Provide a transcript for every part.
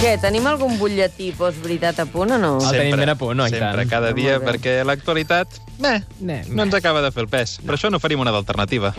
Què, tenim algun butlletí post-veritat a punt o no? El tenim ben a punt, no? I Sempre, tant. cada dia, Molt bé. perquè l'actualitat eh, Ne- no ens acaba de fer el pes. Per això no farim una d'alternativa.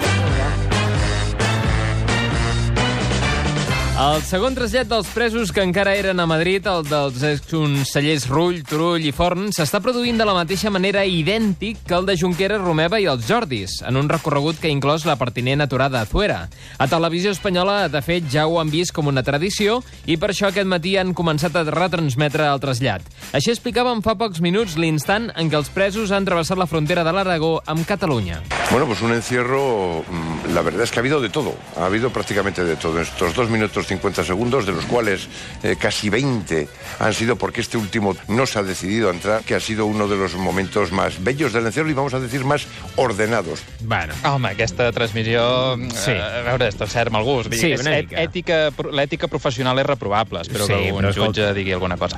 El segon trasllat dels presos que encara eren a Madrid, el dels exconsellers Rull, Turull i Forn, s'està produint de la mateixa manera idèntic que el de Junqueras, Romeva i els Jordis, en un recorregut que ha inclòs la pertinent aturada a Zuera. A televisió espanyola, de fet, ja ho han vist com una tradició i per això aquest matí han començat a retransmetre el trasllat. Així explicàvem fa pocs minuts l'instant en què els presos han travessat la frontera de l'Aragó amb Catalunya. Bueno, pues un encierro, mm, la verdad es que ha habido de todo, ha habido prácticamente de todo. En estos dos minutos 50 segundos, de los cuales eh, casi 20 han sido porque este último no se ha decidido a entrar, que ha sido uno de los momentos más bellos del encierro y vamos a decir más ordenados. Bueno, Home, aquesta transmissió... Sí. Sí. A veure, està cert mal gust. Vull dir Sí, que és una et- mica. Ètica, l'ètica professional és reprobable. Espero Sí, que algun però jutge escolta. digui alguna cosa.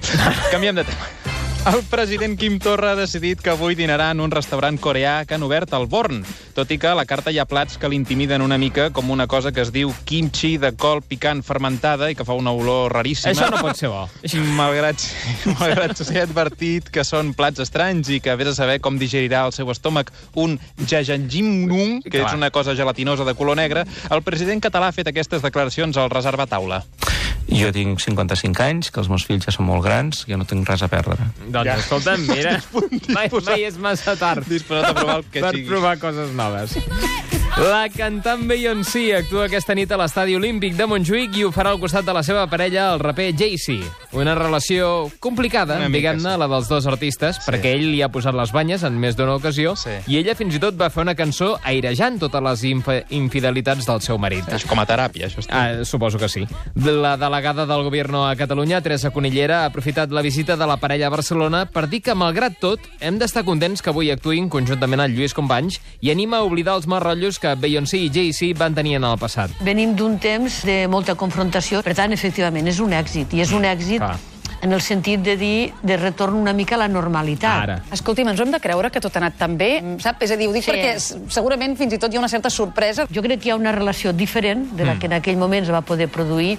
Canviem de tema. El president Quim Torra ha decidit que avui dinarà en un restaurant coreà que han obert al Born, tot i que a la carta hi ha plats que l'intimiden una mica, com una cosa que es diu kimchi de col picant fermentada i que fa una olor raríssima. això no pot ser bo. Malgrat, malgrat s'ha advertit que són plats estranys i que vés a saber com digerirà el seu estómac un jajangimnum, que Clar. és una cosa gelatinosa de color negre, el president català ha fet aquestes declaracions al reserva taula. Jo tinc 55 anys, que els meus fills ja són molt grans, jo no tinc res a perdre. Doncs ja. escolta'm, mira, mai, mai és massa tard Disposat a provar el que per siguis. provar coses noves. La cantant Beyoncé actua aquesta nit a l'Estadi Olímpic de Montjuïc i ho farà al costat de la seva parella, el raper Jay-Z. Una relació complicada, Una mica, diguem-ne, la dels dos artistes, sí. perquè ell li ha posat les banyes en més d'una ocasió Sí. i ella fins i tot va fer una cançó airejant totes les infa- infidelitats del seu marit. És com a teràpia, això. Està. Ah, suposo que sí. La delegada del govern a Catalunya, Teresa Conillera, ha aprofitat la visita de la parella a Barcelona per dir que, malgrat tot, hem d'estar contents que avui actuïn conjuntament al Lluís Companys i anima a oblidar els mals rotllos que Beyoncé i Jay-Z van tenir en el passat. Venim d'un temps de molta confrontació. Per tant, efectivament, és un èxit. I és un èxit Clar. en el sentit de dir de retorn una mica a la normalitat. Ah, Ara. Escolti'm, ens ho hem de creure que tot ha anat tan bé, sap? És a dir, ho dic Sí. sí. perquè s- segurament fins i tot hi ha una certa sorpresa. Jo crec que hi ha una relació diferent de Mm. la que en aquell moment es va poder produir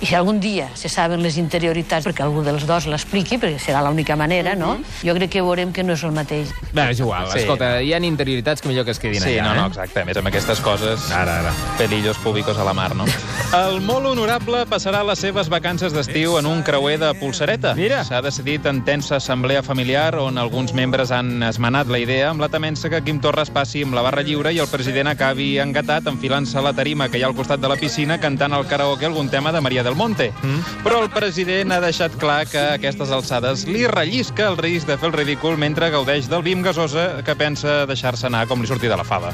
i si algun dia se saben les interioritats perquè algú dels dos l'expliqui, perquè serà l'única manera, no? Jo crec que veurem que no és el mateix. Bé, és igual, sí. Sí. escolta, hi ha interioritats que millor que es quedin eh? Sí, allà. no, no, eh? exacte. A més, amb aquestes coses... Ara, ara. Pelillos públicos a la mar, no? El molt honorable passarà les seves vacances d'estiu en un creuer de polsareta. Mira. S'ha decidit en tensa assemblea familiar on alguns membres han esmenat la idea amb la temença que Quim Torres passi amb la barra lliure i el president acabi engatat enfilant-se a la tarima que hi ha al costat de la piscina cantant al karaoke algun tema de Maria del Monte. Mm. Però el president ha deixat clar que a aquestes alçades li rellisca el risc de fer el ridícul mentre gaudeix del vi amb gasosa que pensa deixar-se anar com li surti de la fava.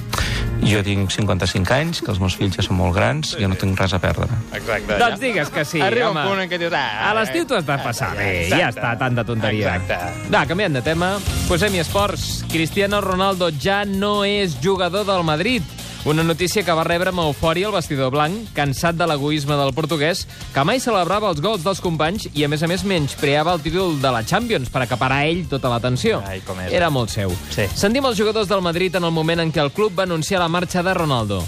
Jo tinc 55 anys, que els meus fills ja són molt grans, jo no tinc res a perdre. Exacte. Doncs digues que sí, Arriba home. un punt en què dius... Ah, A l'estiu t'ho has de passar bé, ja està, tanta tonteria. Exacte. Va, canviant de tema, posem-hi esports. Cristiano Ronaldo ja no és jugador del Madrid. Una notícia que va rebre amb eufòria el vestidor blanc, cansat de l'egoisme del portuguès, que mai celebrava els gols dels companys i, a més a més, menyspreava el títol de la Champions per acaparar ell tota l'atenció. Ai, com és. Era molt seu. Sí. Sentim els jugadors del Madrid en el moment en què el club va anunciar la marxa de Ronaldo.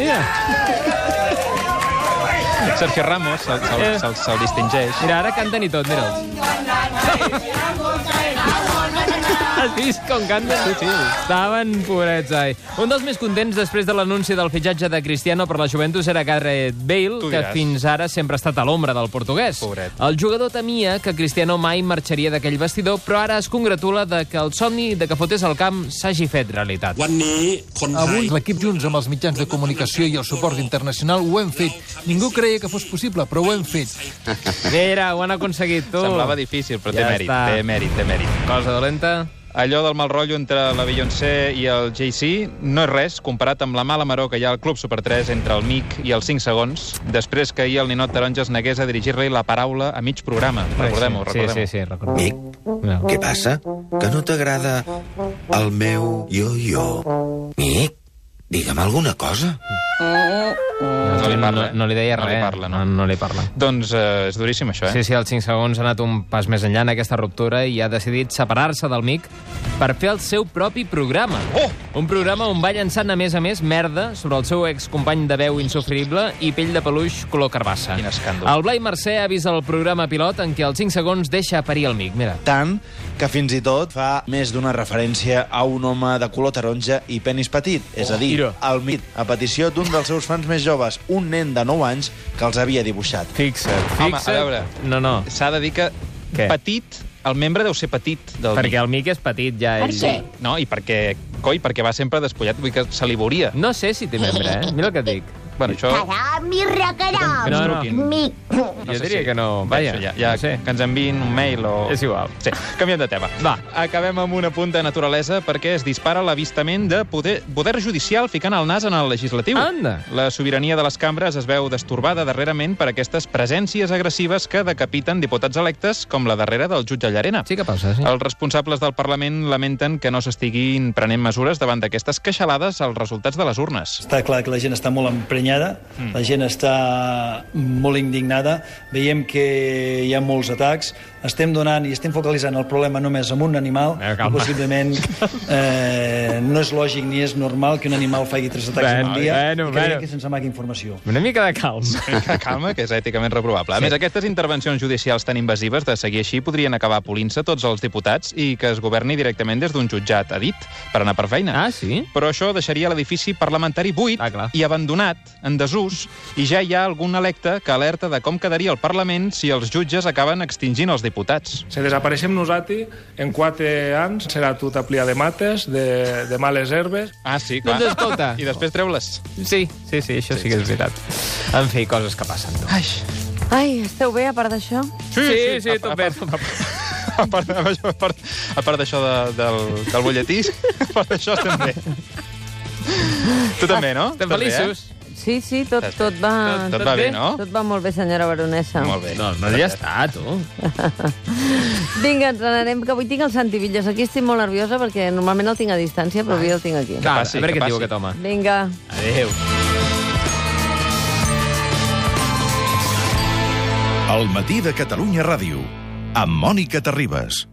Mira, eh, Sergio Ramos se'l se, Eh. se, se, se distingeix. mira, ara canten i tot, mira'ls. Has vist com canten? Sí, sí. Estaven pobrets, ai. Un dels més contents després de l'anunci del fitxatge de Cristiano per la Juventus era Gareth Bale, Tu que diràs. fins ara sempre ha estat a l'ombra del portuguès. Pobret. El jugador temia que Cristiano mai marxaria d'aquell vestidor, però ara es congratula de que el somni de que fotés al camp s'hagi fet realitat. วันนี้คนไทย Avui l'equip junts amb els mitjans de comunicació i el suport internacional ho hem fet. Ningú creia que fos possible, però ho hem fet. Mira, ho han aconseguit, tu. Semblava difícil, però Ja té mèrit, està. té mèrit, té mèrit. Cosa dolenta. Allò del mal rotllo entre la Beyoncé i el Jay-Z no és res comparat amb la mala maró que hi ha al Club Super 3 entre el Mic i els 5 segons, després que ahir el Ninot Taronja es negués a dirigir-li la paraula a mig programa. Recordem-ho, Sí, recordem-ho. sí, sí, recordem-ho. Mic, No. què passa? Que no t'agrada el meu yo-yo? Mic, digue'm alguna cosa. No li parla, eh? No, no li deia No res. li parla, no. No, no li parla. Doncs eh, és duríssim, això, eh? Sí, sí, els 5 segons ha anat un pas més enllà en aquesta ruptura i ha decidit separar-se del Mic per fer el seu propi programa. Oh! Un programa on va llançant, a més a més, merda sobre el seu excompany de veu insufrible i pell de peluix color carbassa. Quin escàndol. El Blai Mercè ha vist el programa pilot en què els 5 segons deixa parir el Mic. Mira. Tant que fins i tot fa més d'una referència a un home de color taronja i penis petit. És a dir, mira. el mit, a petició d'un dels seus fans més joves, un nen de 9 anys que els havia dibuixat. Fixa't, Home, fixa't. a veure. No, no, S'ha de dir que Què? petit, el membre deu ser petit del perquè el Mic és petit ja. Per ell- què? No, i perquè, coi, perquè va sempre despullat, vull dir que se li veuria. No sé si té membre, eh? Mira el que et dic. Bueno, això... Caram i Ah, recaram! No, no. Mi... jo diria que no. Bé, Vaja, això ja, ja no sé. que ens enviïn un mail o... És igual. Sí, canviem de tema. Va. Acabem amb una punta de naturalesa perquè es dispara l'avistament de poder, poder judicial ficant el nas en el legislatiu. Anda. La sobirania de les cambres es veu destorbada darrerament per aquestes presències agressives que decapiten diputats electes, com la darrera del jutge Llarena. Sí que passa, sí. Els responsables del Parlament lamenten que no s'estiguin prenent mesures davant d'aquestes queixalades als resultats de les urnes. Està clar que la gent està molt emprenyada, Mm. la gent està molt indignada, veiem que hi ha molts atacs, estem donant i estem focalitzant el problema només en un animal, Eh, i calma. possiblement eh, no és lògic ni és normal que un animal faci tres atacs en Bueno, un dia, bueno, i crec bueno. que se'ns amaga informació. Una mica de calma. Que calma, que és èticament reprovable. A més, aquestes intervencions judicials tan invasives de seguir així podrien acabar polint-se tots els diputats i que es governi directament des d'un jutjat, ha dit, per anar per feina. Ah, sí? Però això deixaria l'edifici parlamentari buit Ah, clar. i abandonat, en desús, i ja hi ha algun electe que alerta de com quedaria el Parlament si els jutges acaben extingint els diputats. Se desapareixem nosaltres, en quatre anys serà tot a plia de mates, de, de males herbes. Ah, sí, clar. Doncs escolta. I després treu-les. Sí, sí, sí, això sí, que és veritat. En fi, coses que passen. Doncs. Ai, Ai, esteu bé a part d'això? Sí, sí, a- a- tot a- bé. A part, a part, a part, a part d'això de, del, del butlletí, a part d'això estem bé. Tu també, no? Estem Estàs bé, eh? feliços. Sí, sí, tot, Estàs bé. tot va... Tot, tot va bé, no? Tot va molt bé, senyora baronessa. Molt bé. No, no, ja està, tu. Vinga, ens n'anem, que avui tinc el Santi Villas. Aquí estic molt nerviosa perquè normalment el tinc a distància, però avui el tinc aquí. Va, passi, a veure que què et diu passi. aquest home. Vinga. Adéu. El matí de Catalunya Ràdio, amb Mònica Terribas.